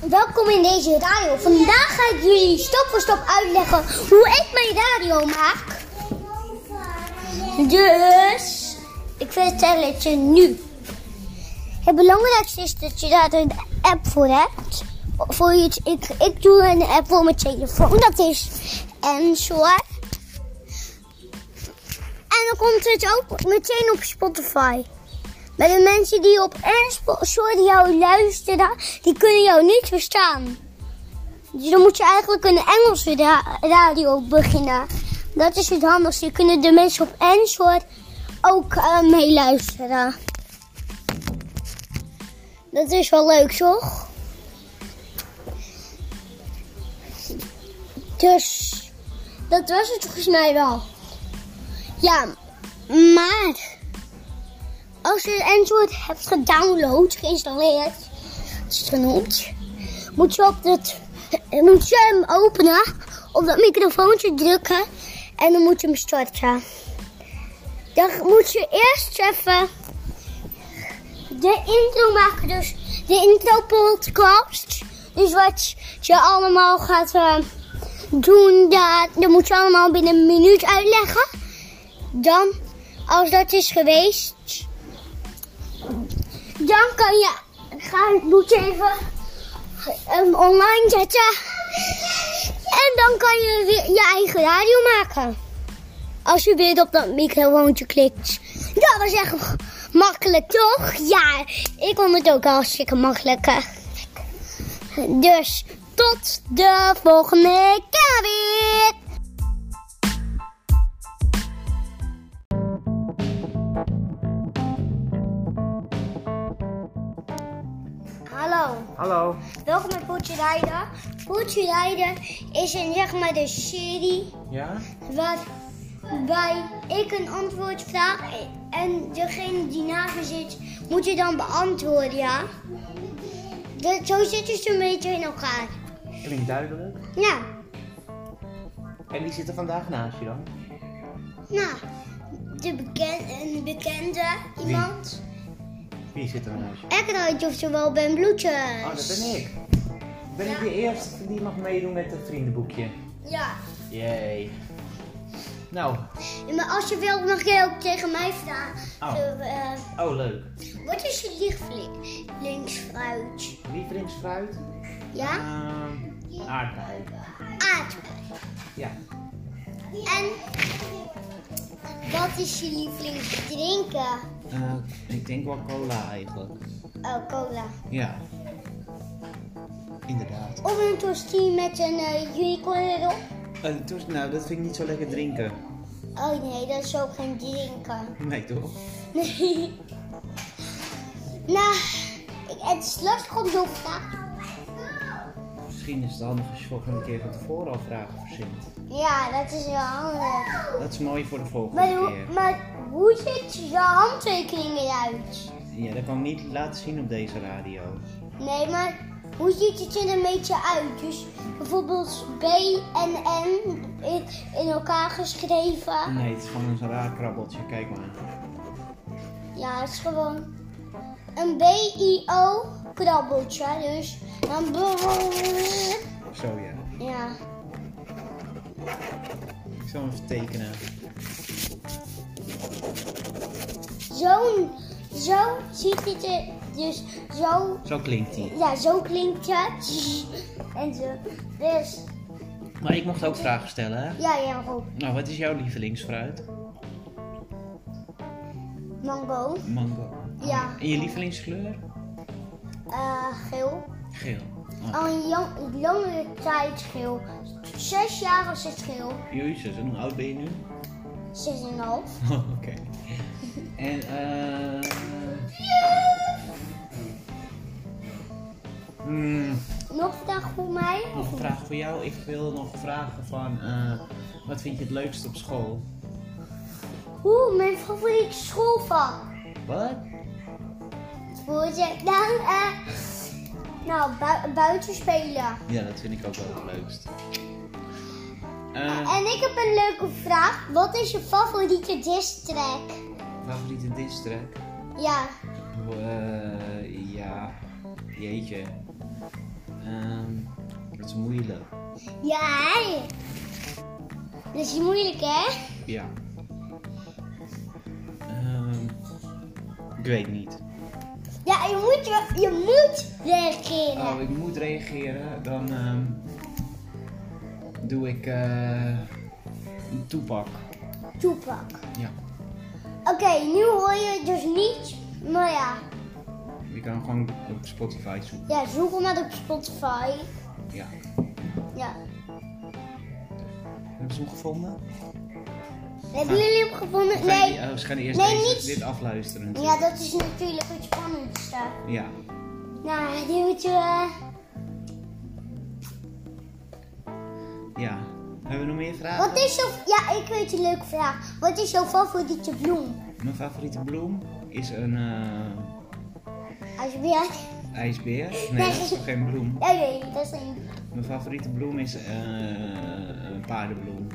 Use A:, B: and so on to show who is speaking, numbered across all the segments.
A: Welkom in deze radio. Vandaag ga ik jullie stap voor stap uitleggen hoe ik mijn radio maak. Dus, ik vertel het je nu. Het belangrijkste is dat je daar een app voor hebt. Voor je, ik, ik doe een app voor mijn telefoon. Dat is Ensor. En dan komt het ook meteen op Spotify. Maar de mensen die op Spotify jou luisteren, die kunnen jou niet verstaan. Dus dan moet je eigenlijk een Engelse ra- radio beginnen. Dat is het handigste. Kunnen de mensen op Ensor ook eh, meeluisteren. Dat is wel leuk, toch? Dus, dat was het volgens mij wel. Ja, maar als je Android hebt gedownload, geïnstalleerd, is het genoemd, moet je, op dat, eh, moet je hem openen, op dat microfoontje drukken en dan moet je hem starten. Dan moet je eerst even de intro maken, dus de intro podcast. Dus wat je allemaal gaat eh, doen, dat, dat moet je allemaal binnen een minuut uitleggen. Dan, als dat is geweest, dan kan je. Ga het moet je even ehm, online zetten. En dan kan je weer je eigen radio maken. Als je weer op dat microfoontje klikt. Dat was echt makkelijk, toch? Ja, ik vond het ook hartstikke makkelijk. hè. Dus tot de volgende keer weer. Hallo.
B: Hallo.
A: Welkom bij Poetje Rijden. Poetje Rijden is een, zeg maar, de serie
B: Ja?
A: waarbij ik een antwoord vraag en degene die naast me zit, moet je dan beantwoorden, ja? Dat, zo zit het een beetje in elkaar.
B: Klinkt duidelijk.
A: Nou,
B: En wie zit er vandaag naast je dan?
A: nou, de beken, een bekende iemand.
B: Wie zit er naast je?
A: Ik rijd oftewel Ben Bloetjes.
B: Oh, dat ben ik. Ben ik de eerste die mag meedoen met het vriendenboekje?
A: Ja.
B: Jee. Nou,
A: Maar als je wilt, mag je ook tegen mij vragen.
B: Oh.
A: eh,
B: oh leuk.
A: Wat is je lievelingsfruit? Linksfruit.
B: Lievelingsfruit?
A: Ja?
B: Ehm, aardbei. Ah.
A: Aardbei.
B: Ja.
A: En wat is je lievelingsdrinken?
B: Eh, ik denk wel cola eigenlijk.
A: Oh, cola.
B: Ja. Inderdaad.
A: Of een tosti met een eh, unicorn erop.
B: Eh, toest- nou, dat vind ik niet zo lekker drinken.
A: Oh nee, dat is ook geen drinken.
B: Nee toch?
A: Nee. nou, ik, en straks komt zo'n vraag.
B: Misschien is het handig als je volgende keer van tevoren al vragen verzint.
A: Ja, dat is wel handig.
B: Dat is mooi voor de volgende
A: Maar, hoe-
B: keer.
A: maar hoe ziet je handtekening eruit?
B: Ja, dat kan ik niet laten zien op deze radio.
A: Nee, maar hoe ziet het er een beetje uit? Dus bijvoorbeeld B en N in, in elkaar geschreven.
B: Nee, het is gewoon een raar krabbeltje, kijk maar.
A: Ja, het is gewoon een B-I-O krabbeltje. Dus dan... brrrr.
B: Zo ja.
A: Ja,
B: Ik zal hem even tekenen.
A: zo, zo ziet het er dus zo...
B: Zo klinkt hij.
A: Ja, zo klinkt het. En zo. Dus,
B: Maar ik mocht ook vragen stellen, hè?
A: ja, ja, goed.
B: Nou, wat is jouw lievelingsfruit?
A: Mango,
B: Mango.
A: Ja.
B: En je lievelingskleur?
A: eh, geel.
B: Geel. Oh.
A: Al een lang- langere tijd geel. Zes jaar was het geel.
B: Jezus, en hoe oud ben je nu? Oh,
A: Zes en een half.
B: Oké. En eh... Hmm,
A: Nog een dag voor mij?
B: nog een vraag voor jou. Ik wil nog vragen van, eh, wat vind je het leukst op school?
A: Oeh, mijn favoriete schoolvak.
B: Wat?
A: Voor je dan eh. Nou, bui- buiten spelen.
B: Ja, dat vind ik ook wel het leukst. Eh, Ah,
A: En ik heb een leuke vraag. Wat is je favoriete district?
B: favoriete district? Eh,
A: Ja,
B: ja, jeetje. Ehm, dat is moeilijk.
A: Ja, hè? Dat is moeilijk, hè?
B: Ja. Ehm, ik weet niet.
A: Ja, je moet, je, je moet reageren.
B: Oh, ik moet reageren. Dan ehm, doe ik eh, een toepak.
A: Toepak.
B: Ja.
A: Oké, nu hoor je het dus niet. Maar ja,
B: Je kan hem gewoon op Spotify zoeken.
A: ja zoek hem maar op Spotify.
B: Ja.
A: Ja.
B: Hebben ze hem gevonden?
A: Hebben jullie hem gevonden?
B: Of gaan
A: Nee.
B: Ah. die- oh, ze gaan eerst
A: Nee,
B: deze-
A: niet.
B: dit afluisteren.
A: Ja, dat is natuurlijk het spannendste.
B: Ja.
A: Nou, die moet je... eh,
B: Ja. Hebben we nog meer vragen?
A: Wat is jouw... Ja, ik weet een leuke vraag. Wat is jouw favoriete bloem?
B: Mijn favoriete bloem is een eh,
A: Alsjeblieft.
B: ijsbeer. Nee, dat is toch geen bloem?
A: Ja, nee, dat is een...
B: Mijn favoriete bloem is eh, een paardenbloem.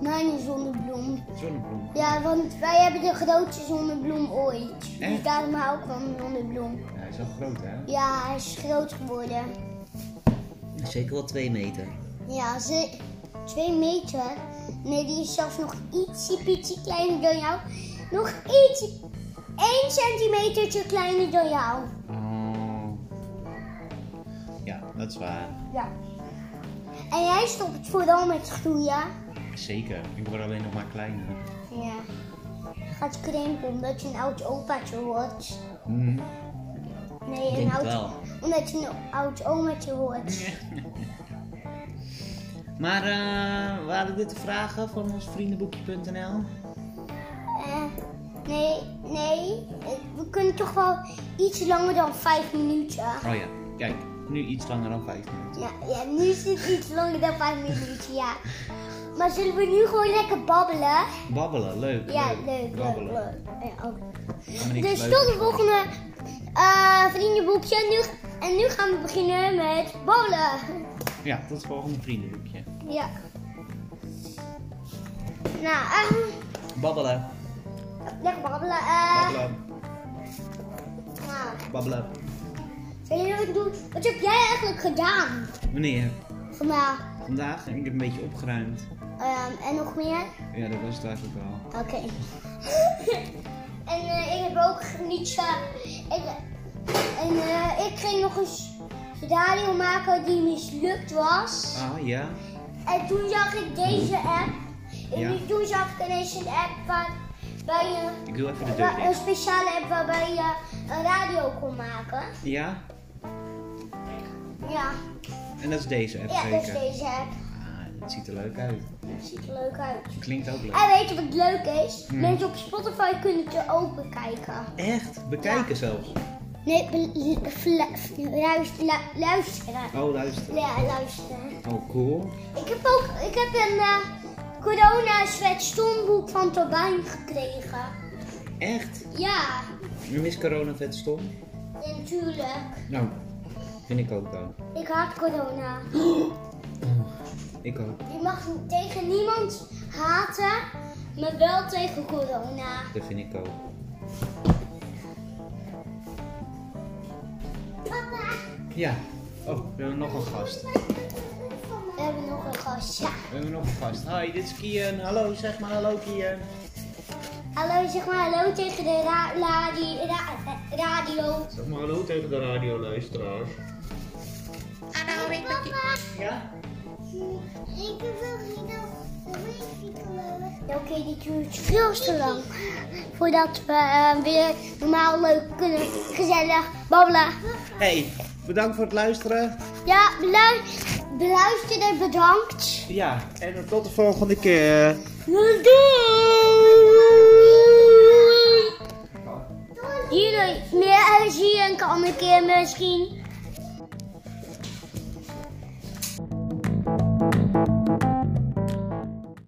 A: Mijn zonnebloem.
B: Zonnebloem.
A: Ja, want wij hebben de grootste zonnebloem ooit. Dus
B: Echt?
A: daarom hou ik van een zonnebloem.
B: Ja, hij is wel groot, hè?
A: Ja, hij is groot geworden.
B: Zeker wel 2 meter.
A: Ja, ze... Twee meter. Nee, die is zelfs nog ietsie pietsie kleiner dan jou. Nog ietsie... Eén centimetertje kleiner dan jou.
B: Oh. Ja, dat is waar.
A: Ja. En jij stopt vooral met groeien.
B: Zeker. Ik word alleen nog maar kleiner.
A: Ja. Gaat krimpen omdat je een oud opaatje wordt.
B: Hm.
A: Nee, een
B: denk
A: oud,
B: het wel.
A: omdat je een oud omaatje wordt.
B: Maar eh, waren dit de vragen van ons vriendenboekje.nl?
A: Eh, nee, nee. eh, We kunnen toch wel iets langer dan vijf minuten.
B: Oh ja, kijk, nu iets langer dan 5 minuten.
A: Ja, ja nu is het iets langer dan vijf minuten, ja. Maar zullen we nu gewoon lekker babbelen?
B: Babbelen, leuk.
A: Ja, leuk, leuk,
B: Babbelen.
A: leuk. Ja, ook.
B: Gaan we niks
A: Dus
B: leuks
A: tot de
B: doen.
A: volgende eh, vriendenboekje. En nu, en nu gaan we beginnen met babbelen.
B: Ja, tot het volgende vriendenboekje.
A: Ja. Nou, eh,
B: Babbelen,
A: lekker babbelen. eh.
B: babbelen,
A: nou,
B: babbelen.
A: zullen jullie wat ik doe? Wat heb jij eigenlijk gedaan
B: Wanneer?
A: vandaag?
B: Vandaag heb ik een beetje opgeruimd.
A: Ehm, en nog meer?
B: Ja, dat was het eigenlijk wel.
A: Oké. en eh, ik heb ook niets. eh, ik, en eh, ik ging nog eens radio maken die mislukt was.
B: Ah ja,
A: En toen zag ik deze app. En
B: Ja.
A: toen zag ik ineens een app waar, waar je
B: ik doe even de deur
A: Wa- Een
B: dicht.
A: speciale app waarbij je een radio kon maken.
B: Ja,
A: Ja,
B: en dat is deze app
A: ja dat is
B: zeker.
A: deze app.
B: Ah, het ziet er leuk uit.
A: Ziet er leuk uit.
B: Klinkt ook leuk.
A: En weet je wat leuk is?
B: Hmm.
A: Mensen op Spotify kunnen het er ook bekijken.
B: Echt? Bekijken zelfs.
A: Nee, be- be- fla- f- luister- lu- luisteren.
B: Oh, luister.
A: Ja, luisteren.
B: Oh, cool.
A: Ik heb ook ik heb een eh, corona sweatshirtboek van Turbijn gekregen.
B: Echt?
A: Ja,
B: Nu is corona vet stom.
A: ja, natuurlijk.
B: Nou, vind ik ook wel.
A: Ik haat corona.
B: Oh. Ik ook.
A: Je mag tegen niemand haten, maar wel tegen corona.
B: Dat vind ik ook.
A: Papa,
B: Ja. Oh, we hebben nog een gast.
A: we hebben nog een gast. Ja.
B: We hebben nog een gast. Hi, dit is Kian. Hallo, zeg maar hallo Kian.
A: Hallo, zeg maar hallo tegen de ra- la- die- ra- eh, radio.
B: Zeg maar hallo tegen de radioluisteraars.
A: Hallo, ik Papa,
B: Ja?
A: ik wil Oké, dit duurt veel te lang. Voordat we eh, weer normaal leuk kunnen gezellig babbelen.
B: Hey, bedankt voor het luisteren.
A: Ja, beluister, beluisteren bedankt.
B: Ja, en tot de volgende keer.
A: Doei! Jullie meer energie en kan een keer misschien.